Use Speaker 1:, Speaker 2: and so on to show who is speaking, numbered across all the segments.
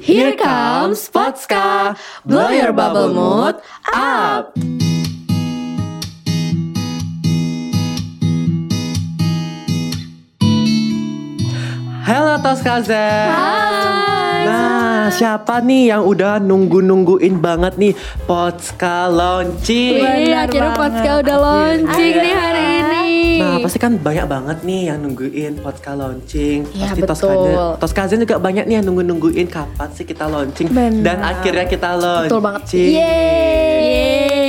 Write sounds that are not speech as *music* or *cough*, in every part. Speaker 1: Here comes Vodka. Blow your bubble mood up.
Speaker 2: Halo Tos Kaza.
Speaker 1: Hai.
Speaker 2: Nah, siapa nih yang udah nunggu-nungguin banget nih Potska launching?
Speaker 1: Wih, Iya,
Speaker 3: Benar
Speaker 1: akhirnya
Speaker 3: banget. Iya.
Speaker 1: Vodka udah launching
Speaker 2: Akhirnya.
Speaker 1: nih hari ini.
Speaker 2: Nah, pasti kan banyak banget nih yang nungguin Potska launching.
Speaker 1: Iya,
Speaker 2: pasti Tos
Speaker 1: betul.
Speaker 2: Kaza, Tos Kaza juga banyak nih yang nunggu-nungguin kapan sih kita launching
Speaker 3: Benar.
Speaker 2: dan akhirnya kita launching.
Speaker 1: Betul banget. Iya. Yeay.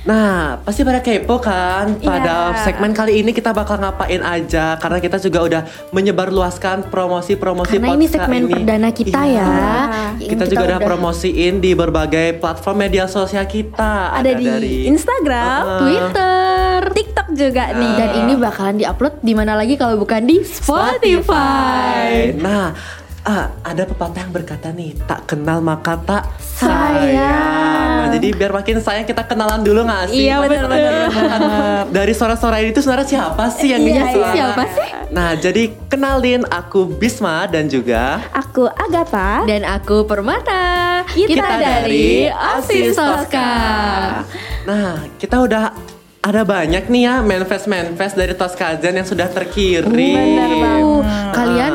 Speaker 2: Nah, pasti pada kepo kan? Pada
Speaker 3: Iya.
Speaker 2: segmen kali ini kita bakal ngapain aja karena kita juga udah menyebarluaskan promosi-promosi
Speaker 1: Karena ini
Speaker 2: podcast
Speaker 1: segmen
Speaker 2: ini.
Speaker 1: perdana kita
Speaker 2: Iya.
Speaker 1: ya. Ini
Speaker 2: Kita, juga udah promosiin di berbagai platform media sosial kita.
Speaker 3: Ada di Instagram,
Speaker 2: Uh-uh.
Speaker 1: Twitter.
Speaker 3: TikTok juga nih.
Speaker 1: Dan ini bakalan diupload di mana lagi kalau bukan di
Speaker 2: Spotify.
Speaker 1: Spotify.
Speaker 2: Nah, ah, ada pepatah yang berkata nih, tak kenal maka tak
Speaker 1: Sayang.
Speaker 2: sayang. Nah, jadi biar makin sayang kita kenalan dulu nggak sih?
Speaker 3: Iya, betul.
Speaker 2: Nah, Dari suara-suara ini tuh sebenarnya siapa sih yang
Speaker 1: Iya
Speaker 2: ngisi
Speaker 1: sih,
Speaker 2: suara?
Speaker 1: siapa sih?
Speaker 2: Nah, jadi kenalin aku Bisma dan juga
Speaker 3: Aku Agatha.
Speaker 1: Dan aku Permata.
Speaker 3: Kita dari
Speaker 1: Asis Tosca.
Speaker 2: Nah, kita udah ada banyak nih ya manifest-manifest dari Toskazen yang sudah terkirim.
Speaker 3: Iya,
Speaker 2: Nah,
Speaker 3: Benar Ah. banget.
Speaker 1: Uh, Kalian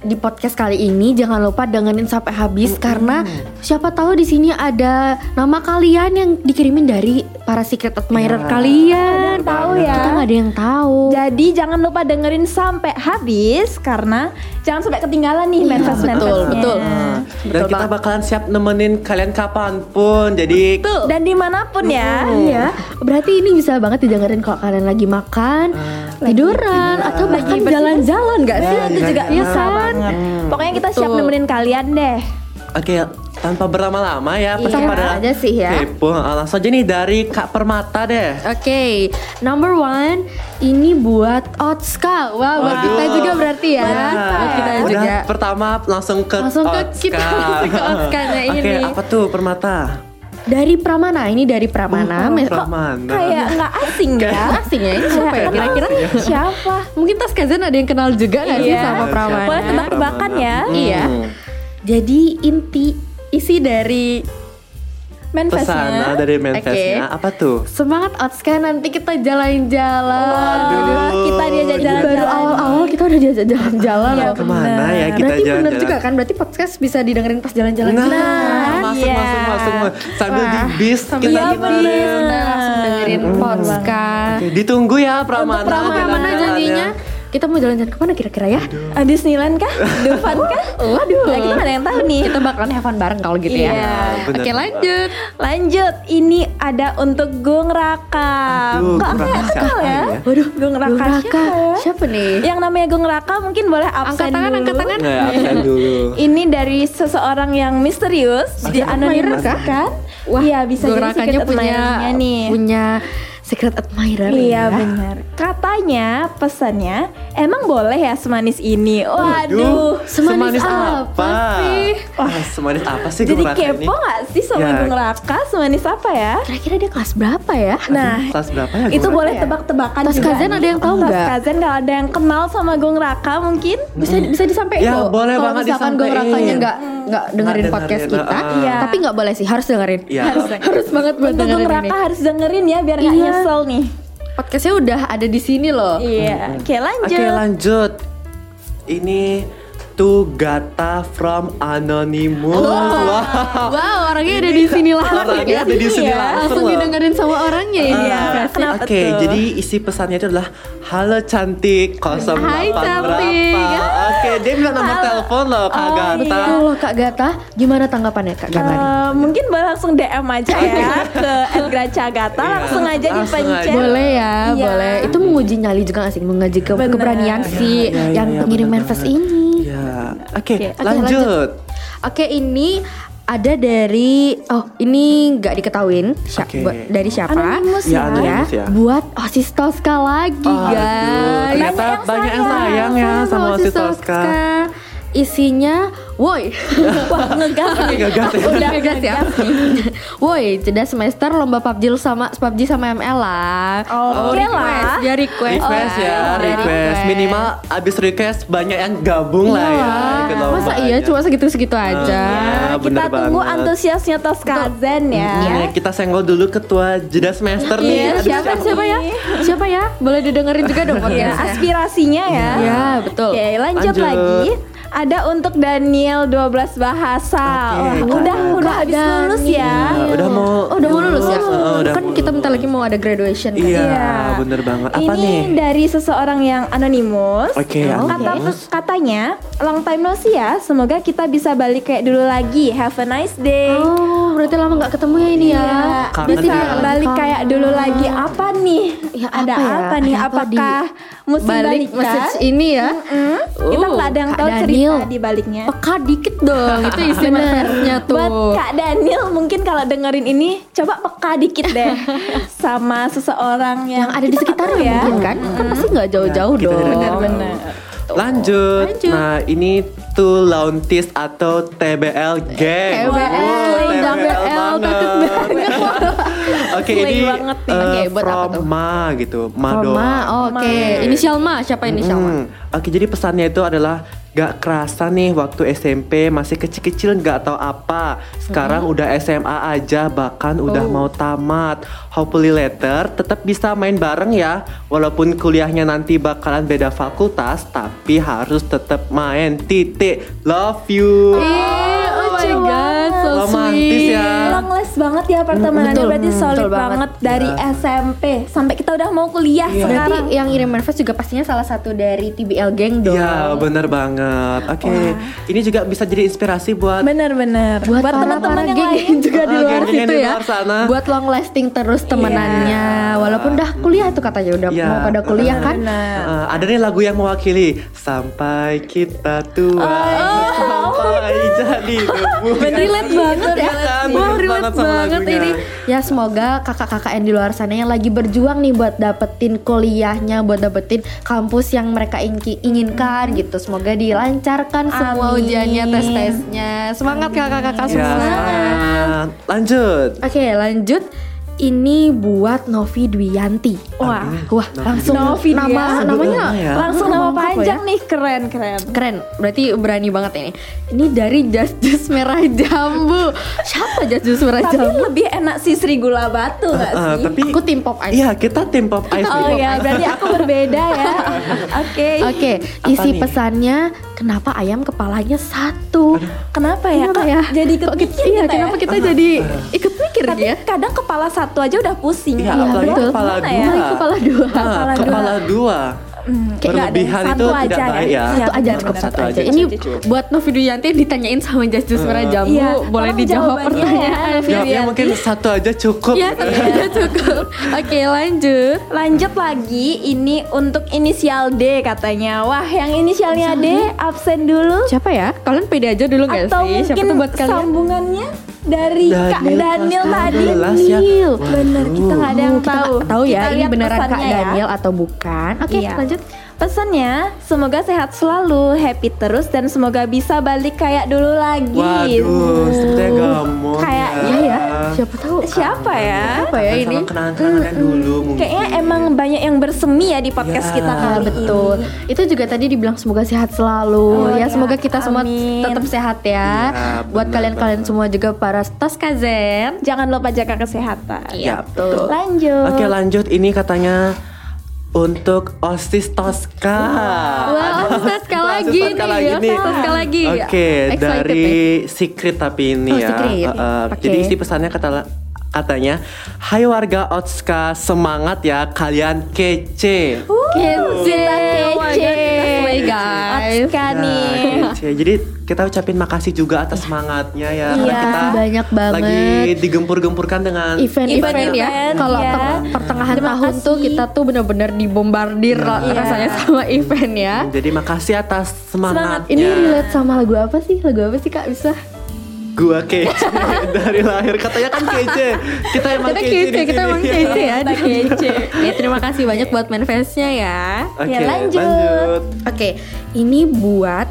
Speaker 1: di podcast kali ini jangan lupa dengerin sampai habis karena siapa tahu di sini ada nama kalian yang dikirimin dari para secret admirer
Speaker 2: Iya.
Speaker 1: kalian.
Speaker 3: Ada yang tahu ya.
Speaker 1: Kita nggak ada yang tahu.
Speaker 3: Jadi jangan lupa dengerin sampai habis karena jangan sampai ketinggalan nih manifest
Speaker 1: Iya, betul, betul.
Speaker 2: Nah,
Speaker 1: Betul
Speaker 2: Dan kita
Speaker 1: banget.
Speaker 2: bakalan siap nemenin kalian kapanpun. Jadi
Speaker 3: Dan dimanapun ya.
Speaker 1: Iya, berarti ini bisa banget didengerin kalau kalian lagi makan,
Speaker 3: Ah.
Speaker 1: tiduran, atau bahkan jalan-jalan nggak sih?
Speaker 2: Iya,
Speaker 1: Itu juga
Speaker 2: iya,
Speaker 1: iya kan?
Speaker 3: Pokoknya kita siap
Speaker 1: Betul.
Speaker 3: nemenin kalian deh.
Speaker 2: Oke, tanpa berlama-lama ya,
Speaker 1: Iya,
Speaker 2: pesan pada
Speaker 1: aja sih ya.
Speaker 2: kepo. Ah, langsung aja nih dari Kak Permata deh.
Speaker 1: Oke, number one ini buat Otska. Wah, buat
Speaker 2: Waduh.
Speaker 1: kita juga berarti ya. Buat kita
Speaker 2: Udah,
Speaker 1: juga.
Speaker 2: pertama langsung ke
Speaker 1: Langsung ke
Speaker 2: Otska.
Speaker 1: kita, langsung ke Otskanya
Speaker 2: Oke,
Speaker 1: ini.
Speaker 2: apa tuh Permata?
Speaker 1: Dari Pramana ini dari
Speaker 3: Oh,
Speaker 1: Pramana. Me- Oh, Kok
Speaker 2: Permana.
Speaker 3: Kayak
Speaker 1: Iya.
Speaker 3: nggak asing ya.
Speaker 1: asing ya? Ini Siapa ya kira-kira?
Speaker 3: Siapa?
Speaker 1: Mungkin Tas Kazan ada yang kenal juga nggak sih
Speaker 3: Iya.
Speaker 1: sama Pramana?
Speaker 3: Boleh tebak-tebakan ya.
Speaker 2: Hmm,
Speaker 1: Iya. Jadi inti isi dari
Speaker 2: Pesana
Speaker 3: Manifestnya.
Speaker 2: dari manifestnya apa tuh?
Speaker 1: semangat Otska nanti kita jalan-jalan.
Speaker 2: Waduh.
Speaker 3: Kita diajak jalan-jalan.
Speaker 1: Baru awal-awal kita udah diajak jalan-jalan
Speaker 3: Iya,
Speaker 1: loh. Nah,
Speaker 2: Kemana
Speaker 3: benar.
Speaker 2: ya kita
Speaker 1: berarti bener
Speaker 2: jalan-jalan?
Speaker 1: juga kan berarti podcast bisa didengerin pas jalan-jalan
Speaker 2: Nah,
Speaker 1: juga.
Speaker 2: masuk,
Speaker 3: Iya.
Speaker 2: masuk, masuk, Sambil
Speaker 1: Wah,
Speaker 2: di bis
Speaker 1: Sambil
Speaker 2: kita
Speaker 1: di
Speaker 2: gimana?
Speaker 1: bis, kita langsung dengerin podcast.
Speaker 2: Oke, ditunggu ya Pramana.
Speaker 1: Pramana mana
Speaker 2: jalan-jalannya.
Speaker 1: janjinya? Kita mau jalan-jalan kemana kira-kira ya?
Speaker 3: Ah, Disneyland
Speaker 1: *laughs*
Speaker 3: kah? Dufan kah?
Speaker 1: Waduh,
Speaker 3: Nah, kita nggak ada yang tahu nih.
Speaker 1: Kita bakalan have fun bareng kalau gitu
Speaker 3: Iya,
Speaker 1: ya.
Speaker 2: bener.
Speaker 1: Oke lanjut.
Speaker 3: Lanjut, ini ada untuk Gung Raka.
Speaker 2: Aduh, Gung
Speaker 3: Kok aku nggak
Speaker 2: Raka
Speaker 3: kenal
Speaker 2: siapa
Speaker 3: ya?
Speaker 2: ya?
Speaker 3: Waduh, Gung Raka,
Speaker 1: Duh, Raka,
Speaker 3: siapa? ya?
Speaker 1: siapa Iya, nih?
Speaker 3: Yang namanya Gung Raka mungkin boleh
Speaker 1: Angkat
Speaker 3: absen
Speaker 1: tangan,
Speaker 3: dulu.
Speaker 1: angkat tangan.
Speaker 2: Nah, absen dulu.
Speaker 3: Ini dari seseorang yang misterius, dia anonimus
Speaker 1: admirer kah?
Speaker 3: kan?
Speaker 1: Wah,
Speaker 3: iya bisa
Speaker 1: Gung
Speaker 3: jadi
Speaker 1: Rakanya
Speaker 3: secret
Speaker 1: punya
Speaker 3: admirer-nya nih.
Speaker 1: punya secret admirer.
Speaker 3: Iya
Speaker 1: ya.
Speaker 3: benar. Katanya pesannya emang boleh ya semanis ini.
Speaker 2: Aduh,
Speaker 3: Waduh.
Speaker 1: semanis apa sih?
Speaker 2: Wah, semanis apa sih
Speaker 3: Jadi
Speaker 2: Gung Raka ini?
Speaker 3: kepo nggak sih sama
Speaker 2: Ya.
Speaker 3: Gung Raka semanis apa ya?
Speaker 1: Kira-kira dia kelas berapa ya?
Speaker 3: Nah,
Speaker 2: Aduh, kelas berapa ya? Gung
Speaker 3: itu
Speaker 2: Raka?
Speaker 3: boleh tebak-tebakan
Speaker 1: Tas
Speaker 3: juga
Speaker 1: Kazen
Speaker 3: nih.
Speaker 1: ada yang tahu
Speaker 3: Tas
Speaker 1: nggak?
Speaker 3: Kazen kalau ada yang kenal sama Gung Raka mungkin
Speaker 1: bisa bisa disampaikan
Speaker 2: Ya,
Speaker 1: kok.
Speaker 2: boleh
Speaker 1: kalau
Speaker 2: banget
Speaker 1: misalkan gue
Speaker 2: disampaikan.
Speaker 1: rasanya nggak nggak dengerin
Speaker 2: dengerin,
Speaker 1: podcast kita
Speaker 2: ah.
Speaker 3: Iya.
Speaker 1: tapi nggak boleh sih harus dengerin
Speaker 2: Iya. *laughs*
Speaker 1: harus harus banget buat
Speaker 3: Untuk Gung
Speaker 1: dengerin ini
Speaker 3: Raka harus dengerin ya biar nggak
Speaker 1: Iya.
Speaker 3: nyesel nih.
Speaker 1: podcastnya udah ada di sini loh
Speaker 3: Iya. Oke, lanjut.
Speaker 2: Oke, lanjut. Ini Tugata from Anonymous. Wow.
Speaker 1: *laughs* wow orangnya ada di sini langsung
Speaker 2: Orangnya
Speaker 1: ya
Speaker 2: ada di sini
Speaker 3: Iya.
Speaker 2: langsung.
Speaker 1: langsung
Speaker 2: loh. Ah,
Speaker 1: didengerin sama orangnya ya
Speaker 3: Iya. Kenapa
Speaker 2: Oke,
Speaker 3: tuh?
Speaker 2: jadi isi pesannya itu adalah Halo cantik 08
Speaker 1: Hai,
Speaker 2: berapa?
Speaker 1: cantik.
Speaker 2: Oke, dia bilang nomor
Speaker 3: Halo.
Speaker 2: telepon loh Kak
Speaker 3: Oh,
Speaker 2: Gata.
Speaker 1: betul loh kak Gata gimana tanggapannya kak Gata nih?
Speaker 3: Eh, mungkin boleh langsung DM aja ya ke @gracagata
Speaker 2: Iya,
Speaker 3: langsung aja
Speaker 2: langsung
Speaker 3: dipencet.
Speaker 2: aja.
Speaker 1: boleh ya
Speaker 3: Iya.
Speaker 1: boleh itu menguji nyali juga nggak sih menguji ke-
Speaker 3: Benar.
Speaker 1: keberanian si
Speaker 2: Iya, iya,
Speaker 1: yang
Speaker 2: iya,
Speaker 1: pengirim
Speaker 2: benar
Speaker 1: manifest
Speaker 2: banget.
Speaker 1: ini
Speaker 2: Iya. Oke,
Speaker 1: oke,
Speaker 2: lanjut.
Speaker 1: Oke ini ada dari oh ini nggak diketahuin Sya-
Speaker 2: Oke.
Speaker 1: buat- dari siapa?
Speaker 3: Anonymous
Speaker 2: Ya, ya. anonymous ya.
Speaker 1: Buat osis Tosca lagi
Speaker 2: Aduh,
Speaker 1: guys.
Speaker 2: ternyata banyak yang sayang ya sama si Toska.
Speaker 1: Isinya
Speaker 2: *laughs*
Speaker 1: Woi.
Speaker 3: Wah, ngegas.
Speaker 2: Oke, ngegas ya.
Speaker 1: Udah gas ya. Woi, jeda semester lomba PUBG sama PUBG sama ML lah.
Speaker 3: Oke
Speaker 1: request,
Speaker 3: lah.
Speaker 1: Dia request.
Speaker 2: Request
Speaker 1: lah.
Speaker 2: ya, request. Minimal abis request banyak yang gabung lah ya. ikut
Speaker 1: Iya. Masa iya
Speaker 2: lombanya.
Speaker 1: cuma segitu-segitu aja.
Speaker 2: Iya, bener
Speaker 3: Nah, Kita tunggu
Speaker 2: banget.
Speaker 3: antusiasnya Toskazen ya.
Speaker 2: Iya, kita senggol dulu ketua jeda semester nih.
Speaker 1: Iya,
Speaker 2: Aduh,
Speaker 1: siapa
Speaker 3: siapa
Speaker 1: siapa ya?
Speaker 3: nih?
Speaker 1: Siapa ya? Boleh didengerin juga dong
Speaker 3: Ya,
Speaker 1: podcastnya.
Speaker 3: aspirasinya ya.
Speaker 1: Iya, betul.
Speaker 3: Oke, lanjut,
Speaker 2: Iya. Lanjut.
Speaker 3: lagi. Ada untuk Daniel 12
Speaker 2: Oke,
Speaker 3: bahasa. Wah,
Speaker 2: kita-
Speaker 3: udah udah habis
Speaker 1: Daniel.
Speaker 3: lulus ya.
Speaker 2: Iya, udah mau
Speaker 1: Oh, udah mau lulus ya?
Speaker 2: Heeh, udah
Speaker 1: kan
Speaker 2: mau
Speaker 1: kita bentar
Speaker 2: lulus.
Speaker 1: lagi mau ada graduation kan?
Speaker 2: Iya,
Speaker 3: Iya.
Speaker 2: bener banget. Apa
Speaker 3: Ini
Speaker 2: nih?
Speaker 3: dari seseorang yang anonimus.
Speaker 2: Oke,
Speaker 3: Kata
Speaker 2: anonymous.
Speaker 3: katanya, long time no see ya. Semoga kita bisa balik kayak dulu lagi. Have a nice day. Iya.
Speaker 1: Oh, berarti lama nggak ketemu ya ini ya?
Speaker 2: Kangen
Speaker 1: Berarti
Speaker 2: ya.
Speaker 1: dia lagi
Speaker 3: balik
Speaker 1: kangen.
Speaker 3: kayak dulu lagi apa nih?
Speaker 1: Ya,
Speaker 3: ada
Speaker 1: apa
Speaker 3: apa,
Speaker 1: ya?
Speaker 3: nih?
Speaker 1: Ada apa di-
Speaker 3: Apakah musim
Speaker 1: balik
Speaker 3: balikan?
Speaker 1: message ini ya?
Speaker 3: Hmm? Kita
Speaker 1: Uh,
Speaker 3: nggak ada yang
Speaker 1: Kak
Speaker 3: tahu
Speaker 1: Daniel. Oh,
Speaker 3: cerita di baliknya.
Speaker 1: Peka dikit dong, itu isi menernya
Speaker 3: Buat
Speaker 1: tuh.
Speaker 3: Kak Daniel mungkin kalau dengerin ini coba peka dikit
Speaker 1: *laughs*
Speaker 3: deh sama seseorang
Speaker 1: Yang
Speaker 3: yang,
Speaker 1: ada di
Speaker 3: kita nggak
Speaker 1: sekitarnya
Speaker 3: tahu ya.
Speaker 1: mungkin kan? Kan pasti nggak jauh-jauh
Speaker 2: Ya, kita
Speaker 1: dong.
Speaker 2: dari-
Speaker 3: Benar-benar.
Speaker 2: Lanjut.
Speaker 1: Lanjut.
Speaker 2: Nah, ini tuh Launtis atau TBL Gang.
Speaker 1: TBL, udah BL, takut
Speaker 2: banget. Oke,
Speaker 3: Slay
Speaker 2: ini
Speaker 3: banget nih.
Speaker 2: eh,
Speaker 1: Oke, buat apa
Speaker 2: from
Speaker 1: tuh?
Speaker 2: Ma gitu. Ma
Speaker 1: Oh, Ma,
Speaker 2: doang.
Speaker 1: oke. Inisial Ma, siapa inisial Ma?
Speaker 2: Hmm, Oke, jadi pesannya itu adalah gak kerasa nih waktu SMP masih kecil-kecil gak tahu apa. Sekarang
Speaker 1: Hmm.
Speaker 2: udah SMA aja bahkan udah
Speaker 1: Oh.
Speaker 2: mau tamat. Hopefully later tetap bisa main bareng ya. Walaupun kuliahnya nanti bakalan beda fakultas, tapi harus tetap main. Titik. Love you.
Speaker 1: Eh, oh my god, so
Speaker 2: Romantis
Speaker 1: sweet.
Speaker 2: ya.
Speaker 3: Longless banget ya pertemanannya
Speaker 1: Iya. Betul,
Speaker 3: berarti
Speaker 1: betul
Speaker 3: solid
Speaker 1: banget. Iya.
Speaker 3: banget, dari SMP sampai kita udah mau kuliah
Speaker 2: Iya.
Speaker 1: Berarti
Speaker 3: sekarang.
Speaker 1: yang ngirim manifest juga pastinya salah satu dari TBL Gang dong.
Speaker 2: Iya, bener banget. Oke, ini juga bisa jadi inspirasi buat
Speaker 3: Bener-bener. Buat, teman-teman yang lain
Speaker 1: *laughs* juga di
Speaker 2: Ah,
Speaker 1: luar
Speaker 2: geng-geng
Speaker 1: situ
Speaker 2: di
Speaker 1: ya.
Speaker 2: luar sana.
Speaker 1: Buat long lasting terus temenannya. Walaupun udah kuliah tuh katanya udah
Speaker 2: Iya.
Speaker 1: mau pada kuliah kan.
Speaker 3: Bener.
Speaker 2: Uh, ada nih lagu yang mewakili sampai kita
Speaker 1: Oh,
Speaker 2: tua sampai
Speaker 1: *laughs*
Speaker 2: jadi debu.
Speaker 1: iya. Relate banget ya.
Speaker 2: Kan,
Speaker 1: Wah,
Speaker 2: relate
Speaker 1: relate
Speaker 2: sama
Speaker 1: banget
Speaker 2: lagunya.
Speaker 1: ini. Ya semoga kakak-kakak yang di luar sana yang lagi berjuang nih buat dapetin kuliahnya, buat dapetin kampus yang mereka inki-
Speaker 2: Hmm.
Speaker 1: inginkan gitu. Semoga dilancarkan semua
Speaker 3: Amin.
Speaker 1: ujiannya, tes-tesnya. Semangat kakak-kakak
Speaker 2: Ya,
Speaker 1: semua.
Speaker 2: semangat. lanjut.
Speaker 1: Oke, lanjut. Ini buat Novi Dwiyanti.
Speaker 3: Wah.
Speaker 1: Wah, langsung
Speaker 3: Novi
Speaker 1: nama
Speaker 3: Dwiyanti.
Speaker 1: namanya
Speaker 2: Ya.
Speaker 1: Oh,
Speaker 3: Langsung nama
Speaker 1: lengkap
Speaker 3: panjang
Speaker 1: ya.
Speaker 3: nih keren-keren.
Speaker 1: Keren, berarti berani banget ini. Ini dari Jas Jus Merah Jambu. Siapa Jas Jus Merah
Speaker 3: Tapi
Speaker 1: Jambu?
Speaker 3: lebih enak sih Sri Gula Batu gak
Speaker 2: Uh,
Speaker 3: sih?
Speaker 2: tapi
Speaker 1: Aku tim pop iya. ice.
Speaker 2: Iya, kita tim pop ice.
Speaker 3: Oh ya, berarti aku berbeda
Speaker 1: *laughs*
Speaker 3: ya. Oke.
Speaker 1: Oke,
Speaker 2: Apa
Speaker 1: isi
Speaker 2: nih?
Speaker 1: pesannya kenapa ayam kepalanya satu?
Speaker 3: Kenapa ya?
Speaker 1: Kenapa
Speaker 3: Kok
Speaker 1: ya?
Speaker 3: Jadi
Speaker 1: Kok
Speaker 3: kepikiran
Speaker 1: kita, iya, kenapa kita jadi ikut mikir
Speaker 3: ya? Tapi ya,
Speaker 1: dia?
Speaker 3: kadang kepala satu aja udah pusing.
Speaker 2: Iya, apalagi
Speaker 1: betul.
Speaker 2: kepala dua.
Speaker 3: Gimana ya?
Speaker 1: Apalagi kepala dua.
Speaker 2: Ah,
Speaker 3: Kepala dua.
Speaker 2: kepala dua.
Speaker 3: Hmm, kayak nggak ada yang
Speaker 2: Berlebihan itu
Speaker 3: satu
Speaker 2: tidak
Speaker 3: aja
Speaker 2: baik ya.
Speaker 3: Iya,
Speaker 1: Satu aja,
Speaker 3: benar.
Speaker 1: cukup
Speaker 2: satu
Speaker 1: satu aja.
Speaker 2: aja.
Speaker 1: Ini
Speaker 2: Cukup, cukup.
Speaker 1: buat Novi Dwiyanti ditanyain sama Jas Jus Merah Jambu,
Speaker 3: Iya,
Speaker 1: boleh
Speaker 3: tolong
Speaker 1: dijawab
Speaker 3: jawabannya.
Speaker 1: pertanyaan.
Speaker 3: Iya,
Speaker 2: Jawabnya
Speaker 3: iya.
Speaker 2: Ya, mungkin satu aja cukup.
Speaker 1: Iya, satu aja cukup. Oke, lanjut.
Speaker 3: Lanjut lagi, ini untuk inisial D katanya. Wah, yang inisialnya D absen dulu
Speaker 1: Siapa ya? Kalian pede aja dulu gak
Speaker 3: atau
Speaker 1: sih? Siapa
Speaker 3: mungkin
Speaker 1: tuh buat kalian?
Speaker 3: sambungannya dari Kak
Speaker 2: Daniel
Speaker 3: Daniel
Speaker 2: kelas
Speaker 3: tadi.
Speaker 2: 12 ya.
Speaker 1: Daniel.
Speaker 2: Waduh.
Speaker 3: Bener, kita nggak ada yang
Speaker 1: kita
Speaker 3: tahu.
Speaker 1: nggak tahu ya
Speaker 3: Kita
Speaker 1: ini
Speaker 3: lihat
Speaker 1: beneran Kak
Speaker 3: pesannya ya.
Speaker 1: Daniel atau bukan. Oke,
Speaker 3: Iya.
Speaker 1: lanjut.
Speaker 3: Pesannya, semoga sehat selalu, happy terus, dan semoga bisa balik kayak dulu lagi.
Speaker 2: Waduh, sepertinya gamon.
Speaker 3: Kayaknya
Speaker 1: Iya ya. Siapa tahu?
Speaker 3: Siapa ya?
Speaker 1: Siapa ya ini?
Speaker 2: Sama kenangan-kenangannya dulu mungkin.
Speaker 3: Kayaknya emang banyak yang bersemi ya di podcast
Speaker 2: Ya.
Speaker 3: kita
Speaker 1: Ah,
Speaker 3: kali
Speaker 1: betul. Itu juga tadi dibilang semoga sehat selalu.
Speaker 3: Oh,
Speaker 1: ya,
Speaker 3: iya.
Speaker 1: semoga kita semua
Speaker 3: Amin.
Speaker 1: tetap sehat ya.
Speaker 2: Iya,
Speaker 1: Buat
Speaker 2: benar
Speaker 1: kalian-kalian
Speaker 2: banget.
Speaker 1: semua juga para Toskazen.
Speaker 3: ini. Jangan lupa jaga kesehatan.
Speaker 2: Iya,
Speaker 1: Ya, betul.
Speaker 3: Lanjut.
Speaker 1: eh,
Speaker 2: Oke lanjut ini katanya untuk osis Tosca.
Speaker 1: Wah,
Speaker 2: Aduh,
Speaker 1: Toska
Speaker 2: wah,
Speaker 1: lagi
Speaker 2: Toska
Speaker 1: nih,
Speaker 2: lagi
Speaker 1: ya.
Speaker 2: nih.
Speaker 1: Toska lagi.
Speaker 2: Oke,
Speaker 1: Excited
Speaker 2: dari Secret tapi ini
Speaker 1: Oh,
Speaker 2: ya.
Speaker 1: Secret.
Speaker 2: Eh, eh,
Speaker 1: Oke.
Speaker 2: Jadi isi pesannya kata katanya, Hai warga Otska, semangat ya kalian kece.
Speaker 1: Kece,
Speaker 3: Kita kece.
Speaker 1: kece, guys. Kan
Speaker 3: Otska
Speaker 2: Nah,
Speaker 3: nih.
Speaker 2: kece. Jadi kita ucapin makasih juga atas semangatnya ya. Karena
Speaker 1: Iya,
Speaker 2: kita
Speaker 1: banyak banget.
Speaker 2: lagi digempur-gempurkan dengan
Speaker 1: event-event ya.
Speaker 3: Event-event,
Speaker 1: Kalau
Speaker 3: ya.
Speaker 1: per- pertengahan
Speaker 3: Terima
Speaker 1: tahun
Speaker 3: kasih.
Speaker 1: tuh kita tuh bener-bener dibombardir lah
Speaker 3: Iya.
Speaker 1: rasanya sama event ya.
Speaker 2: Jadi makasih atas semangatnya.
Speaker 1: Ini relate sama lagu apa sih? Lagu apa sih Kak bisa?
Speaker 2: Gua kece *laughs* dari lahir katanya kan kece. Kita emang
Speaker 1: kita
Speaker 2: kece, di
Speaker 1: kece,
Speaker 2: sini.
Speaker 1: kita emang kece ya. Kita kece. ya terima kasih banyak buat manifestnya ya.
Speaker 2: Oke,
Speaker 3: Ya, lanjut.
Speaker 2: lanjut.
Speaker 1: Oke, ini buat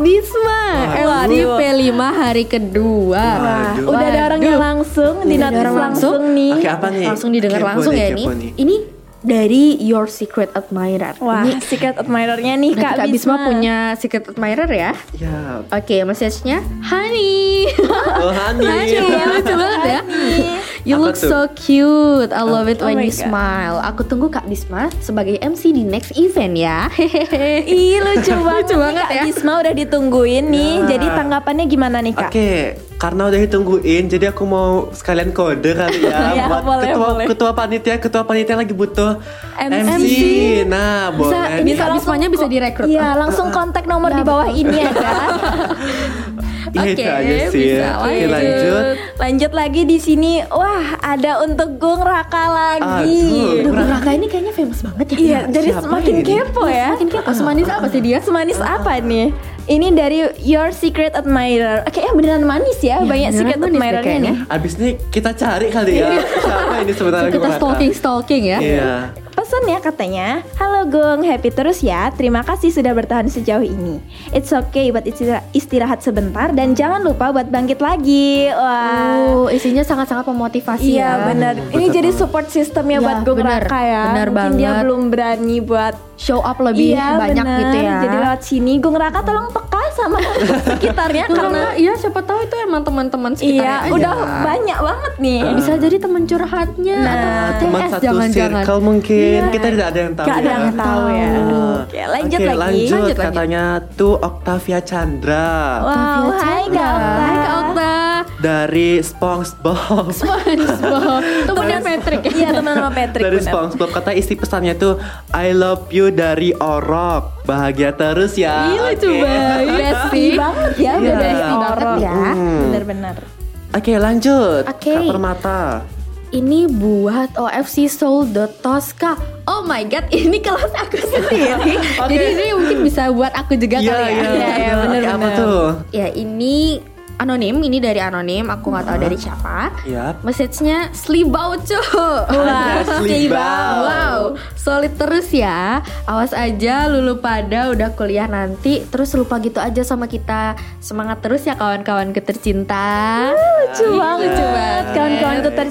Speaker 4: Kak Bisma
Speaker 2: Wah.
Speaker 4: LCP 5 hari kedua
Speaker 2: Waduh.
Speaker 3: Nah, Udah ada orangnya
Speaker 4: Waduh.
Speaker 3: langsung di
Speaker 1: Udah ada
Speaker 3: notice
Speaker 1: orang
Speaker 3: langsung,
Speaker 1: Kan langsung.
Speaker 3: nih.
Speaker 2: Oke apa nih?
Speaker 1: Langsung didengar
Speaker 2: Kepo
Speaker 1: langsung
Speaker 2: nih,
Speaker 1: ya
Speaker 2: kepo
Speaker 1: ini. Ini dari Your Secret Admirer.
Speaker 3: Wah,
Speaker 1: Ini
Speaker 3: secret admirer-nya nih
Speaker 1: nanti
Speaker 3: Kak,
Speaker 1: Iya. Kak Bisma punya secret admirer ya.
Speaker 2: Ya.
Speaker 1: Oke, message-nya Honey. *laughs*
Speaker 2: Oh, honey.
Speaker 1: Honey, lucu banget ya. You
Speaker 2: Apa
Speaker 1: look
Speaker 2: tuh?
Speaker 1: so cute. I love it
Speaker 3: Oh
Speaker 1: when
Speaker 3: my
Speaker 1: you
Speaker 3: God.
Speaker 1: smile. Aku tunggu Kak Bisma sebagai MC di next event ya. *laughs* Hehehe.
Speaker 3: Ih lucu banget,
Speaker 1: *laughs* Lucu
Speaker 3: nih,
Speaker 1: banget
Speaker 3: Kak
Speaker 1: ya.
Speaker 3: Bisma udah ditungguin nih.
Speaker 1: Iya.
Speaker 2: Ya.
Speaker 3: Jadi tanggapannya gimana nih Kak?
Speaker 2: Oke, karena udah ditungguin, jadi aku mau sekalian kode kali
Speaker 1: *laughs*
Speaker 2: ya,
Speaker 1: Iya,
Speaker 3: Ya,
Speaker 2: buat
Speaker 3: boleh,
Speaker 2: ketua
Speaker 3: boleh.
Speaker 2: ketua panitia, ketua panitia lagi butuh
Speaker 3: MC.
Speaker 2: Nah,
Speaker 1: Bisa
Speaker 2: boleh.
Speaker 1: bisa
Speaker 2: nih.
Speaker 1: Kak Bismanya bisa direkrut.
Speaker 3: Iya, langsung kontak nomor
Speaker 1: Iya,
Speaker 3: di bawah ini ya
Speaker 1: *laughs*
Speaker 3: Kak.
Speaker 2: Ya,
Speaker 1: Oke,
Speaker 2: itu aja sih.
Speaker 1: bisa
Speaker 2: Oke,
Speaker 1: lanjut.
Speaker 2: lanjut.
Speaker 3: Lanjut lagi di sini. Wah, ada untuk Gung Raka lagi.
Speaker 2: Aduh.
Speaker 1: Aduh, Raka ini kayaknya famous banget ya.
Speaker 3: Iya, jadi
Speaker 2: siapa
Speaker 3: semakin
Speaker 2: ini?
Speaker 3: kepo ya.
Speaker 1: Makin kepo semanis apa sih dia?
Speaker 3: Semanis apa nih? Ini dari Your Secret Admirer. Kayaknya beneran manis ya,
Speaker 1: Iya,
Speaker 3: banyak
Speaker 1: beneran
Speaker 3: secret
Speaker 1: manis deh
Speaker 3: admirernya
Speaker 1: kayaknya.
Speaker 3: nih.
Speaker 2: Abis ini kita cari kali ya. Siapa ini sebenarnya
Speaker 1: Kita
Speaker 2: Gumara?
Speaker 1: stalking stalking ya.
Speaker 2: Iya.
Speaker 3: Pesannya ya, katanya, Halo Gung, happy terus ya. Terima kasih sudah bertahan sejauh ini. It's okay buat istira- istirahat sebentar dan jangan lupa buat bangkit lagi.
Speaker 1: Oh,
Speaker 3: Wah.
Speaker 1: isinya sangat-sangat memotivasi
Speaker 3: Iya
Speaker 1: ya.
Speaker 3: benar. Ini jadi support sistemnya
Speaker 1: Iya,
Speaker 3: buat Gung
Speaker 1: benar.
Speaker 3: Raka ya.
Speaker 1: Benar
Speaker 3: Mungkin dia
Speaker 1: banget.
Speaker 3: belum berani buat
Speaker 1: Show up lebih
Speaker 3: Iya,
Speaker 1: banyak
Speaker 3: benar.
Speaker 1: gitu ya.
Speaker 3: Jadi lewat sini Gung Raka tolong peka
Speaker 1: *laughs*
Speaker 3: sama sekitarnya karena
Speaker 1: karena iya siapa tahu itu emang teman-teman sekitarnya
Speaker 3: iya
Speaker 1: aja. Iya.
Speaker 3: udah banyak banget nih.
Speaker 1: bisa jadi teman curhatnya
Speaker 2: Ah, Teman
Speaker 1: atau TS
Speaker 2: satu
Speaker 1: Nah, jangan-jangan.
Speaker 2: circle mungkin. Kita tidak ada yang tahu.
Speaker 3: Gak ada
Speaker 2: ya.
Speaker 3: yang tahu ya.
Speaker 2: Ah.
Speaker 3: Oke, lanjut
Speaker 2: Oke,
Speaker 3: lagi.
Speaker 2: Lanjut,
Speaker 1: Lanjut, lanjut.
Speaker 2: katanya tuh Octavia Chandra
Speaker 3: Wow,
Speaker 1: Octavia
Speaker 3: hai
Speaker 1: Chandra.
Speaker 3: Kak Okta.
Speaker 1: Hai Kak Okta. *laughs*
Speaker 2: dari SpongeBob.
Speaker 1: SpongeBob. Temennya Patrick. ya?
Speaker 3: Iya teman sama Patrick.
Speaker 2: dari
Speaker 3: benar.
Speaker 2: SpongeBob kata isi pesannya tuh I love you dari Orok. Bahagia terus ya.
Speaker 1: Iya lucu
Speaker 2: Oke.
Speaker 1: banget.
Speaker 3: Bestie banget ya,
Speaker 2: Iya.
Speaker 3: beda
Speaker 2: Bestie
Speaker 1: banget ya.
Speaker 2: Hmm.
Speaker 3: Bener-bener.
Speaker 2: Oke, lanjut.
Speaker 1: Oke.
Speaker 2: Kak Permata.
Speaker 1: Ini buat OFC Soul Tosca. Oh my god, *laughs* ini kelas aku
Speaker 2: *laughs*
Speaker 1: sendiri. Jadi ini mungkin bisa buat aku juga
Speaker 2: Iya,
Speaker 1: kali ya.
Speaker 2: iya.
Speaker 3: Iya, iya,
Speaker 2: Oke,
Speaker 3: bener-bener.
Speaker 2: Apa tuh?
Speaker 1: Ya ini anonim, ini dari anonim, aku nggak tahu dari siapa.
Speaker 2: Yap.
Speaker 1: Message-nya slibau cuy.
Speaker 2: Iya. Ada Slibau.
Speaker 1: Wow, solid terus ya. Awas aja lulu pada udah kuliah nanti terus lupa gitu aja sama kita. Semangat terus ya kawan-kawan ketercinta.
Speaker 3: Lucu
Speaker 2: Ah,
Speaker 3: banget.
Speaker 1: Lucu banget.
Speaker 3: Kawan-kawanku
Speaker 2: Keren, keren,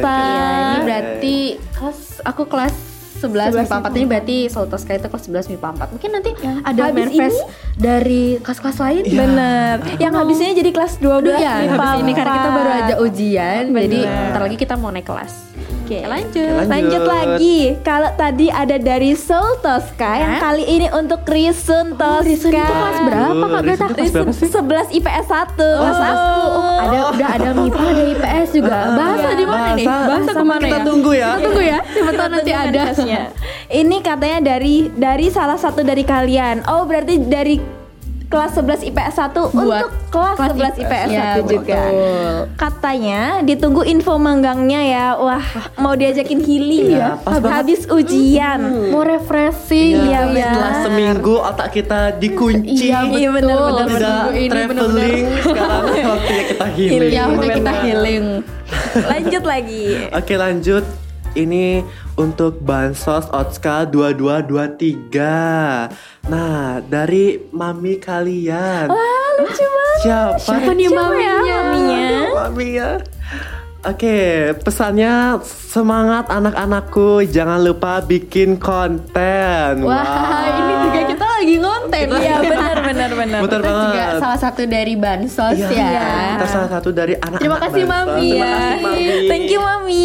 Speaker 2: keren,
Speaker 1: Ya, ini berarti kelas aku kelas 11 MIPA 4 ini berarti Soltoska itu kelas 11 MIPA 4 Mungkin nanti ada
Speaker 3: habis
Speaker 1: manifest dari kelas-kelas lain
Speaker 2: Iya.
Speaker 3: Bener. Yang habis ini jadi kelas 12
Speaker 1: Udah ya,
Speaker 3: nih,
Speaker 1: Iya. habis
Speaker 3: Pak.
Speaker 1: ini karena kita baru aja ujian Jadi bentar lagi kita mau naik kelas
Speaker 3: Oke.
Speaker 1: Lanjut
Speaker 2: Lanjut.
Speaker 3: Lanjut lagi, kalau tadi ada dari Soul Tosca, yang
Speaker 1: Hah? Oh,
Speaker 3: kali ini untuk Risun Tosca.
Speaker 1: Risun itu kelas berapa
Speaker 2: Aduh,
Speaker 1: Kak Gata?
Speaker 2: Risun itu kelas berapa sih?
Speaker 3: 11 IPS 1
Speaker 1: Kelas aku Oh, ada udah ada MIPA ada IPS juga bahasa di mana nih
Speaker 2: Bahasa.
Speaker 1: bahasa kemana
Speaker 2: Kita
Speaker 1: ya
Speaker 2: tunggu ya.
Speaker 1: kita tunggu ya siapa tahu nanti ada
Speaker 3: *laughs* Ini katanya dari dari salah satu dari kalian. Oh, berarti dari kelas 11 IPS 1 untuk kelas, 11 IPS 1
Speaker 1: ya,
Speaker 3: juga.
Speaker 1: betul.
Speaker 3: kan? Katanya ditunggu info manggangnya ya. Wah, mau diajakin healing ya?
Speaker 2: Iya, pas banget.
Speaker 3: habis ujian.
Speaker 1: mau refreshing
Speaker 3: Iya,
Speaker 1: gitu ya.
Speaker 2: Setelah seminggu otak kita dikunci.
Speaker 1: Iya
Speaker 3: Iya,
Speaker 1: betul,
Speaker 3: bener, bener,
Speaker 1: Minggu
Speaker 2: Tidak
Speaker 1: ini bener-bener.
Speaker 2: traveling sekarang waktunya kita healing.
Speaker 1: Iya, udah kita healing.
Speaker 3: Lanjut lagi.
Speaker 2: Oke lanjut Ini untuk Bansos Otska 2223 Nah dari Mami kalian
Speaker 3: Wah, lucu banget.
Speaker 2: Siapa?
Speaker 1: Siapa nih maminya?
Speaker 3: maminya?
Speaker 2: Mami ya Oke, pesannya semangat anak-anakku, jangan lupa bikin konten.
Speaker 1: Wah, ini juga kita lagi ngonten
Speaker 3: Iya, benar benar benar.
Speaker 2: Betul
Speaker 1: Kita juga
Speaker 2: banget.
Speaker 1: salah satu dari bansos
Speaker 2: Iya,
Speaker 1: ya.
Speaker 2: Kita salah satu dari anak-anak.
Speaker 1: Terima kasih,
Speaker 2: Bansos.
Speaker 1: Mami,
Speaker 2: Terima
Speaker 1: ya.
Speaker 2: kasih, Mami.
Speaker 3: Iya. Thank you mami.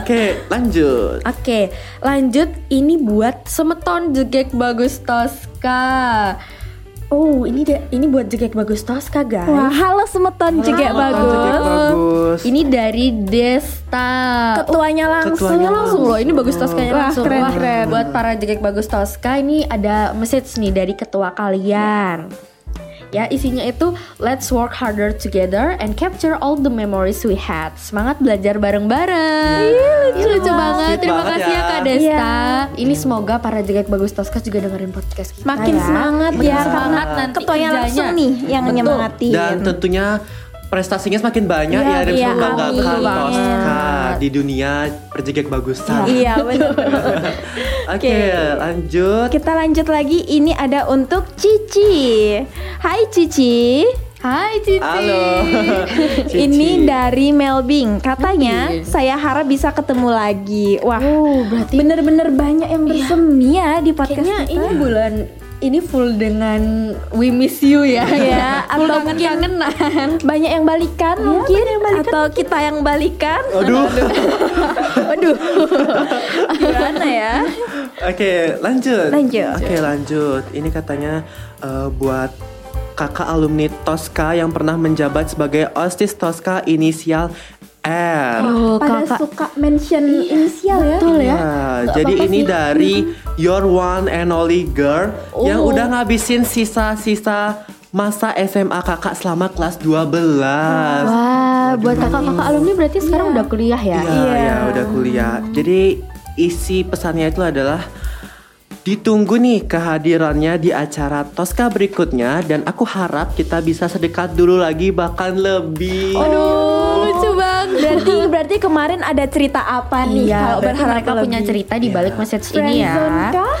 Speaker 2: Oke, lanjut.
Speaker 1: Oke, lanjut ini buat semeton jegek bagus Tosca. Oh, ini da- ini buat jegek bagus Tosca, guys.
Speaker 3: Wah, halo semeton
Speaker 2: Lanjut,
Speaker 3: juga bagus.
Speaker 2: bagus.
Speaker 1: Ini dari Desta.
Speaker 3: Ketuanya langsung.
Speaker 2: Ketuanya
Speaker 1: Ini langsung loh, ini bagus Toskanya
Speaker 3: Wah,
Speaker 1: langsung.
Speaker 3: keren,
Speaker 1: Wah,
Speaker 3: keren.
Speaker 1: Buat para jegek bagus Toska ini ada message nih dari ketua kalian. Ya, isinya itu let's work harder together and capture all the memories we had. Semangat belajar bareng-bareng. Ih, lucu banget.
Speaker 2: Sweet
Speaker 1: Terima
Speaker 2: banget
Speaker 1: kasih ya
Speaker 2: ya.
Speaker 1: Kak Desta. Ini semoga para jegek bagus Toska juga dengerin podcast kita.
Speaker 3: Makin
Speaker 1: ya.
Speaker 3: semangat
Speaker 2: Makin
Speaker 3: ya
Speaker 2: semangat
Speaker 3: karena
Speaker 1: nanti
Speaker 3: ketuanya
Speaker 1: kerjanya.
Speaker 3: langsung nih yang
Speaker 1: Betul.
Speaker 3: nyemangatin.
Speaker 2: Dan tentunya prestasinya semakin banyak
Speaker 3: Iya,
Speaker 2: ya, dan
Speaker 3: iya,
Speaker 2: semoga nggak
Speaker 3: amin.
Speaker 2: akan Tosca di dunia berjegak bagusan.
Speaker 3: Iya
Speaker 1: *laughs*
Speaker 3: benar.
Speaker 2: Oke, lanjut.
Speaker 3: Kita lanjut lagi. Ini ada untuk Cici. Hai Cici.
Speaker 4: Hai Cici.
Speaker 2: Halo. *laughs* Cici.
Speaker 3: Ini dari Melbing. Katanya
Speaker 4: Melbing.
Speaker 3: saya harap bisa ketemu lagi. Wah,
Speaker 1: Oh, berarti Iya.
Speaker 3: bener-bener banyak yang bersemi ya di podcast
Speaker 1: kayaknya
Speaker 3: kita.
Speaker 1: ini bulan ini full dengan we miss you ya. *laughs*
Speaker 3: Ya,
Speaker 1: full
Speaker 3: atau
Speaker 1: kangen kangenan. Iya,
Speaker 3: banyak yang balikan mungkin atau kita yang balikan.
Speaker 2: Aduh.
Speaker 3: Waduh. Gimana ya?
Speaker 2: *laughs* Oke, lanjut.
Speaker 3: Lanjut.
Speaker 2: Oke, lanjut. Ini katanya eh, buat kakak alumni Tosca yang pernah menjabat sebagai OSIS Tosca inisial R.
Speaker 1: Oh,
Speaker 3: Pada
Speaker 1: kakak.
Speaker 3: suka mention inisial ya.
Speaker 1: Betul ya.
Speaker 2: Ya, jadi ini dari Your One and Only Girl yang udah ngabisin sisa-sisa masa SMA kakak selama kelas 12.
Speaker 1: Wah, buat kakak-kakak alumni berarti sekarang udah kuliah ya.
Speaker 2: Iya, ya, udah kuliah. Jadi isi pesannya itu adalah ditunggu nih kehadirannya di acara Tosca berikutnya dan aku harap kita bisa sedekat dulu lagi bahkan lebih.
Speaker 3: Aduh,
Speaker 4: Lucu banget.
Speaker 3: Berarti berarti kemarin ada cerita apa nih?
Speaker 1: Iya,
Speaker 3: kalau
Speaker 1: berarti
Speaker 3: berharap
Speaker 1: mereka Iya. punya
Speaker 3: lebih?
Speaker 1: cerita di balik message ini ya.
Speaker 3: Friendzone kah?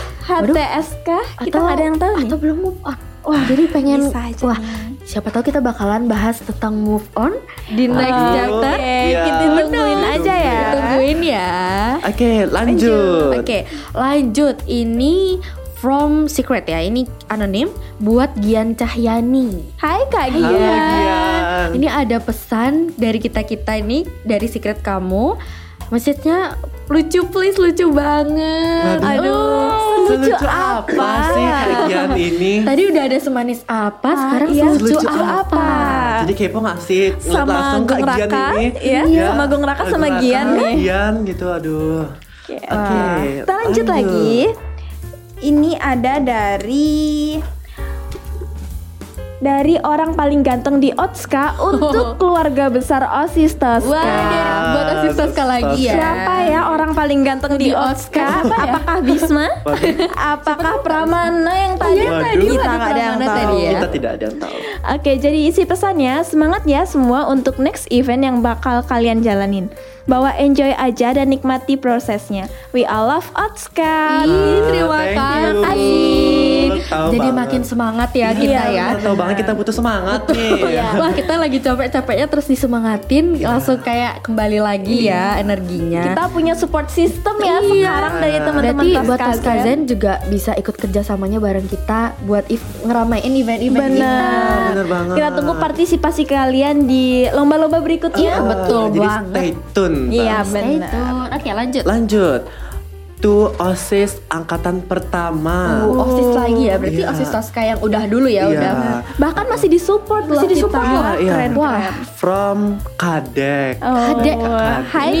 Speaker 3: HTS kah? Kita nggak ada yang tahu nih.
Speaker 1: Atau belum move on. Ah, Wah, jadi pengen
Speaker 3: bisa aja
Speaker 1: wah,
Speaker 3: nih.
Speaker 1: siapa tahu kita bakalan bahas tentang move on di next
Speaker 2: Aduh.
Speaker 1: chapter.
Speaker 3: Oke,
Speaker 2: Iya.
Speaker 3: kita tungguin
Speaker 2: Bener.
Speaker 3: aja ya.
Speaker 1: Iya.
Speaker 4: Tungguin ya.
Speaker 2: Oke, lanjut.
Speaker 1: Oke, iya. lanjut. Ini from secret ya. Ini anonim buat Gian Cahyani.
Speaker 3: Hai Kak
Speaker 2: Halo,
Speaker 3: Gia.
Speaker 2: Gian.
Speaker 1: Ini ada pesan dari kita-kita ini dari secret kamu. Message-nya lucu please, lucu banget.
Speaker 3: Aduh,
Speaker 2: Selucu
Speaker 3: lucu
Speaker 2: apa sih kajian ini?
Speaker 1: Tadi udah ada semanis apa, sekarang
Speaker 3: iya,
Speaker 1: selucu,
Speaker 2: selucu
Speaker 1: apa?
Speaker 3: apa?
Speaker 2: Jadi kepo gak sih
Speaker 3: Sama
Speaker 2: langsung ke
Speaker 3: Gung
Speaker 2: Gian
Speaker 3: Raka,
Speaker 2: ini? Iya.
Speaker 3: ya? Sama Gung Raka sama
Speaker 2: Gung
Speaker 3: Gian, kan?
Speaker 2: Gian gitu, aduh. Oke.
Speaker 3: Kita lanjut lagi. Ini ada dari dari orang paling ganteng di Otska untuk keluarga besar OSIS Tosca.
Speaker 4: Wah, ini buat
Speaker 2: terus
Speaker 4: asisten sekali lagi ya.
Speaker 3: Siapa ya orang paling ganteng
Speaker 4: Di
Speaker 3: di, Otska?
Speaker 4: Otska?
Speaker 1: ya?
Speaker 3: Apakah Bisma?
Speaker 2: Waduh.
Speaker 3: Apakah Pramana yang tadi?
Speaker 2: Waduh. tadi
Speaker 3: kita
Speaker 4: ada
Speaker 3: nggak ada yang
Speaker 4: Pramana
Speaker 3: tahu.
Speaker 4: tadi ya.
Speaker 2: Kita tidak ada yang tahu.
Speaker 3: Oke, jadi isi pesannya semangat ya semua untuk next event yang bakal kalian jalanin. Bawa enjoy aja dan nikmati prosesnya. We all love Otska.
Speaker 4: Ih, terima
Speaker 2: Thank
Speaker 4: kasih.
Speaker 2: you.
Speaker 3: Asik.
Speaker 2: Tahu
Speaker 1: Jadi
Speaker 2: banget.
Speaker 1: makin semangat ya kita ya. iya.
Speaker 2: Iya, Tahu banget kita butuh semangat nih. ya.
Speaker 1: Wah kita lagi capek-capeknya terus disemangatin langsung kayak kembali lagi ya energinya.
Speaker 3: Kita punya support system ya sekarang dari teman-teman
Speaker 1: Iya.
Speaker 3: ya.
Speaker 1: Berarti
Speaker 3: Tosca
Speaker 1: buat Tosca
Speaker 3: Zen.
Speaker 1: Zen juga bisa ikut kerjasamanya bareng kita buat if, ngeramein event-event gitu. kita.
Speaker 3: Benar.
Speaker 2: Bener banget.
Speaker 3: Kita tunggu partisipasi kalian di lomba-lomba berikutnya.
Speaker 1: Iya, betul
Speaker 2: Jadi
Speaker 1: banget.
Speaker 2: stay tune.
Speaker 3: Iya,
Speaker 2: Bang.
Speaker 1: Nah,
Speaker 3: benar.
Speaker 1: itu. Oke lanjut.
Speaker 2: Lanjut. Tuh OSIS angkatan pertama.
Speaker 1: Oh, osis lagi ya. Berarti
Speaker 2: Iya.
Speaker 1: osis Tosca yang udah dulu ya
Speaker 2: Iya.
Speaker 1: udah.
Speaker 3: Bahkan masih disupport loh
Speaker 1: Masih disupport
Speaker 3: kita.
Speaker 1: loh.
Speaker 2: Iya.
Speaker 3: Keren,
Speaker 1: Wah.
Speaker 3: keren.
Speaker 2: From Kadek.
Speaker 3: Oh.
Speaker 1: Kadek.
Speaker 3: Hai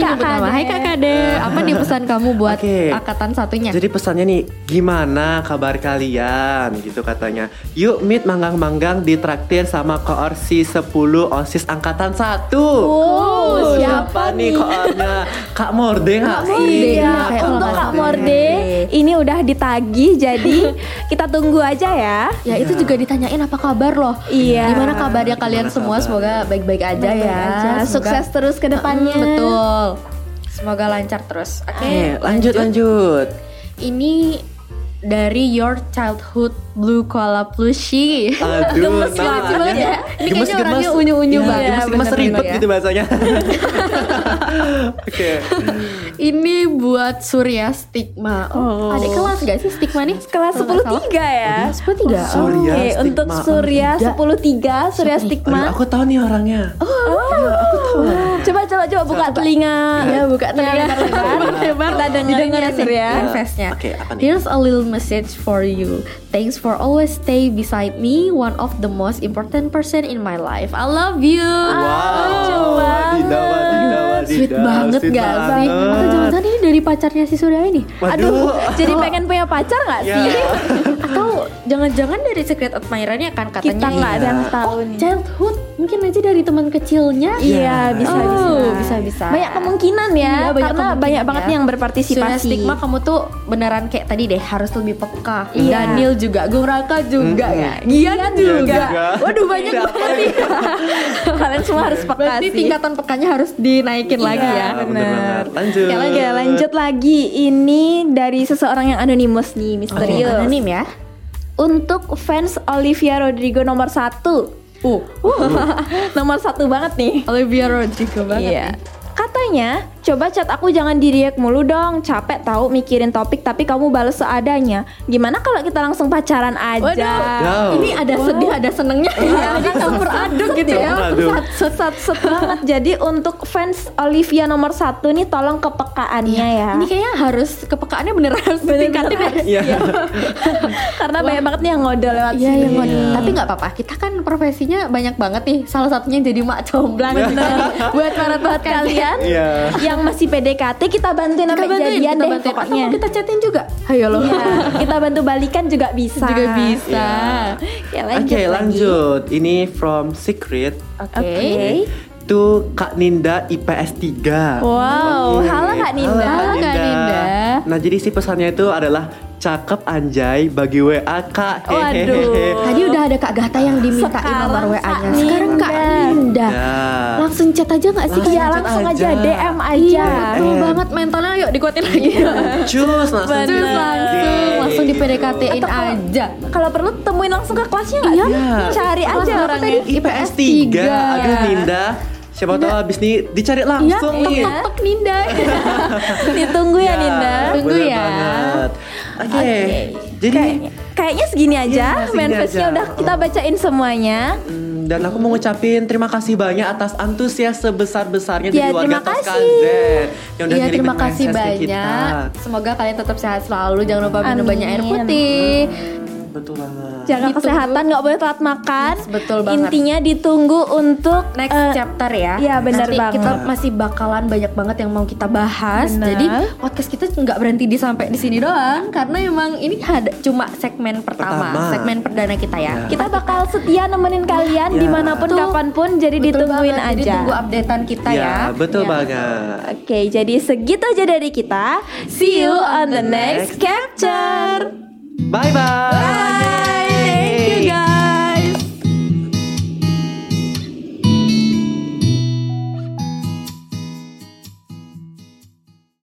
Speaker 1: Ini
Speaker 3: Kak
Speaker 1: nyebut nama.
Speaker 3: Kadek.
Speaker 1: Hai Kak Kade. Iya, Apa nih pesan kamu buat
Speaker 2: Oke.
Speaker 1: angkatan satunya?
Speaker 2: Jadi pesannya nih, gimana kabar kalian? Gitu katanya. Yuk meet manggang-manggang di traktir sama koorsi 10 OSIS angkatan 1.
Speaker 3: Oh,
Speaker 2: siapa nih koornya? Kak Morde nggak sih?
Speaker 1: Iya,
Speaker 3: Iya,
Speaker 1: kayak
Speaker 3: untuk
Speaker 1: kalau
Speaker 3: Kak
Speaker 1: Morde.
Speaker 3: Morde ini udah ditagih jadi *laughs* kita tunggu aja ya.
Speaker 1: Ya itu juga ditanyain apa kabar loh.
Speaker 3: Iya.
Speaker 1: Gimana kabarnya kalian
Speaker 2: Gimana
Speaker 1: semua?
Speaker 2: kabar?
Speaker 1: Semoga baik-baik aja
Speaker 3: Baik-baik
Speaker 1: ya.
Speaker 3: aja.
Speaker 1: Semoga-
Speaker 3: Sukses terus ke depannya.
Speaker 1: Mm, betul. Semoga lancar terus. Oke.
Speaker 2: Oke, lanjut lanjut.
Speaker 1: Ini dari Your Childhood Blue Koala Plushie.
Speaker 2: Aduh,
Speaker 1: *laughs* gemes banget
Speaker 2: namanya.
Speaker 1: banget ya. Ini
Speaker 2: Gemes,
Speaker 1: kayaknya orangnya
Speaker 2: gemes.
Speaker 1: unyu-unyu
Speaker 2: Iya,
Speaker 1: banget.
Speaker 2: Gemes, gemes
Speaker 1: Bener-bener
Speaker 2: ribet
Speaker 1: ya.
Speaker 2: gitu bahasanya. Oke.
Speaker 1: Ini buat Surya Stigma. Oh, Ada kelas gak sih Stigma nih?
Speaker 3: Kelas 10 tiga ya.
Speaker 1: Sepuluh tiga.
Speaker 2: Oh, Surya
Speaker 3: Oke,
Speaker 2: Stigma.
Speaker 3: untuk Surya 10 3 Surya Stigma.
Speaker 2: Aduh, aku tahu nih orangnya.
Speaker 3: Oh, Coba coba coba buka telinga. Iya,
Speaker 1: Ya buka telinga
Speaker 3: lebar Kita dengerin ya Surya.
Speaker 1: Confess-nya.
Speaker 2: Oke, apa nih?
Speaker 1: Here's a little message for you. Thanks for always stay beside me, one of the most important person in my life. I love you.
Speaker 2: Wow, wadidaw, wadidaw, wadidaw.
Speaker 1: Sweet banget
Speaker 2: Sweet
Speaker 1: gak sih?
Speaker 2: banget.
Speaker 1: Atau jangan-jangan ini dari pacarnya si Surya ini?
Speaker 2: Waduh.
Speaker 3: Jadi pengen punya pacar nggak
Speaker 2: Ya.
Speaker 3: *laughs* sih?
Speaker 1: Atau jangan-jangan dari secret admirer-nya kan katanya
Speaker 3: Kita nggak ada yang tahu
Speaker 1: Oh,
Speaker 3: nih.
Speaker 1: childhood mungkin aja dari teman kecilnya.
Speaker 3: Iya,
Speaker 2: *laughs*
Speaker 3: bisa
Speaker 1: Oh,
Speaker 3: bisa.
Speaker 1: bisa-bisa.
Speaker 3: Banyak kemungkinan ya,
Speaker 1: Iya, banyak
Speaker 3: karena
Speaker 1: kemungkinan
Speaker 3: banyak banget
Speaker 1: ya.
Speaker 3: yang berpartisipasi.
Speaker 1: Surya Stigma kamu tuh beneran kayak tadi deh harus lebih peka.
Speaker 3: Iya.
Speaker 1: Daniel juga, Gung Raka juga,
Speaker 2: Mm-mm.
Speaker 1: ya. Gian juga. Iya.
Speaker 2: juga.
Speaker 1: Waduh banyak
Speaker 2: Siapa
Speaker 1: banget nih.
Speaker 3: *laughs* Kalian semua harus peka
Speaker 1: Berarti
Speaker 3: sih.
Speaker 1: tingkatan pekanya harus dinaikin lagi ya.
Speaker 2: Ah, bener banget. Lanjut.
Speaker 3: Oke, lagi lanjut lagi. Ini dari seseorang yang anonimus nih, misterius.
Speaker 1: Anonim ya.
Speaker 3: Untuk fans Olivia Rodrigo nomor satu.
Speaker 1: Uh,
Speaker 3: *laughs* nomor satu banget nih.
Speaker 1: Olivia Rodrigo banget.
Speaker 3: Iya. Katanya, coba chat aku jangan diriak mulu dong. Capek tahu mikirin topik tapi kamu bales seadanya. Gimana kalau kita langsung pacaran aja?
Speaker 1: Waduh,
Speaker 2: Wow.
Speaker 1: ini ada sedih, ada senengnya. Iya, Jadi campur aduk gitu ya.
Speaker 2: Aduh.
Speaker 3: Set set
Speaker 1: *laughs*
Speaker 3: set banget. Jadi untuk fans Olivia nomor satu nih tolong kepekaannya ya.
Speaker 1: Iya. Ini kayaknya harus kepekaannya bener harus ditingkatin ya.
Speaker 2: Iya.
Speaker 3: Karena banyak banget nih yang ngodol lewat
Speaker 1: Iya
Speaker 3: sini.
Speaker 1: yang wanita. Tapi nggak apa-apa. Kita kan profesinya banyak banget nih. Salah satunya jadi mak comblang. Buat para buat kalian.
Speaker 2: Iya.
Speaker 3: Yang masih PDKT kita bantuin
Speaker 1: Kita
Speaker 3: sampai
Speaker 1: bantuin,
Speaker 3: jadian
Speaker 1: kita
Speaker 3: deh
Speaker 1: bantuin. Atau
Speaker 3: pokoknya.
Speaker 1: mau kita chatin juga. Ayo loh.
Speaker 3: Iya, kita bantu balikan juga bisa.
Speaker 1: Juga bisa.
Speaker 3: Ya,
Speaker 2: Oke,
Speaker 3: lanjut lagi.
Speaker 2: lanjut. Ini from Secret
Speaker 1: Oke.
Speaker 3: Oke.
Speaker 2: itu Kak Ninda IPS 3.
Speaker 3: Wow,
Speaker 2: Oke.
Speaker 3: halo Kak Ninda.
Speaker 2: Iya. Halo,
Speaker 4: Kak Ninda.
Speaker 2: Nah, jadi sih pesannya itu adalah cakep anjay bagi WA Kak.
Speaker 3: Waduh.
Speaker 1: *laughs* Tadi udah ada Kak Gata yang dimintain nomor
Speaker 3: Sekarang
Speaker 1: WA-nya.
Speaker 3: Kak
Speaker 1: Sekarang Kak
Speaker 2: Iya.
Speaker 1: Ninda.
Speaker 2: Nah.
Speaker 1: Langsung chat aja nggak sih Kak?
Speaker 3: Iya
Speaker 2: Lanjut
Speaker 3: langsung aja.
Speaker 2: aja.
Speaker 3: DM aja.
Speaker 1: Iya, betul
Speaker 2: DM.
Speaker 1: banget mentalnya yuk dikuatin lagi.
Speaker 2: Cus langsung.
Speaker 1: *laughs* Terus langsung
Speaker 2: Yeay.
Speaker 1: langsung di PDKT-in
Speaker 3: Atau kalau-
Speaker 1: aja.
Speaker 3: Kalau perlu temuin langsung ke kelasnya nggak?
Speaker 2: Iya.
Speaker 1: Kelas
Speaker 3: Cari
Speaker 1: ya.
Speaker 3: aja
Speaker 1: orangnya.
Speaker 3: orangnya.
Speaker 2: IPS 3.
Speaker 1: tiga.
Speaker 2: Aduh Ninda, siapa tahu abis ini dicari
Speaker 1: Iya,
Speaker 2: langsung
Speaker 1: tok
Speaker 2: nih.
Speaker 1: tok tok Ninda.
Speaker 3: *laughs* Ditunggu
Speaker 1: Iya.
Speaker 3: ya Ninda.
Speaker 1: Tunggu
Speaker 2: bener
Speaker 1: ya.
Speaker 2: banget. Oke. Jadi
Speaker 3: Kayaknya, kayaknya segini aja.
Speaker 2: Iya, segini
Speaker 3: Manifestnya
Speaker 2: aja.
Speaker 3: udah kita bacain semuanya.
Speaker 2: Hmm, Dan aku mau ngucapin terima kasih banyak atas antusias sebesar-besarnya dari
Speaker 3: Ya,
Speaker 2: warga
Speaker 3: terima
Speaker 2: Toskan
Speaker 3: kasih.
Speaker 2: Z yang udah
Speaker 1: *laughs* Iya
Speaker 2: ngirimin
Speaker 1: terima kasih
Speaker 2: message ke
Speaker 1: banyak.
Speaker 2: kita.
Speaker 1: Semoga kalian tetap sehat selalu. Jangan lupa minum
Speaker 3: Amin.
Speaker 1: banyak air putih.
Speaker 2: Betul banget.
Speaker 3: Jaga
Speaker 1: Gitu.
Speaker 3: kesehatan, nggak boleh telat makan.
Speaker 1: Yes, betul banget.
Speaker 3: Intinya ditunggu untuk
Speaker 1: Next
Speaker 3: eh,
Speaker 1: chapter ya.
Speaker 3: iya, benar
Speaker 1: Nanti
Speaker 3: banget.
Speaker 1: kita masih bakalan banyak banget yang mau kita bahas.
Speaker 3: Benar.
Speaker 1: Jadi podcast kita nggak berhenti di sampai di sini doang karena emang ini ada cuma segmen pertama,
Speaker 2: Pertama.
Speaker 1: segmen perdana kita ya.
Speaker 2: Iya.
Speaker 3: Kita bakal setia nemenin kalian
Speaker 2: Iya.
Speaker 3: dimanapun,
Speaker 1: Betul.
Speaker 3: kapanpun. Jadi
Speaker 1: Betul
Speaker 3: ditungguin
Speaker 1: banget. Jadi
Speaker 3: aja.
Speaker 1: tunggu updatean kita
Speaker 2: Iya,
Speaker 1: ya.
Speaker 2: betul
Speaker 1: Iya.
Speaker 2: banget.
Speaker 3: Oke, jadi segitu aja dari kita. See you on the next capture.
Speaker 2: Bye-bye.
Speaker 3: Bye.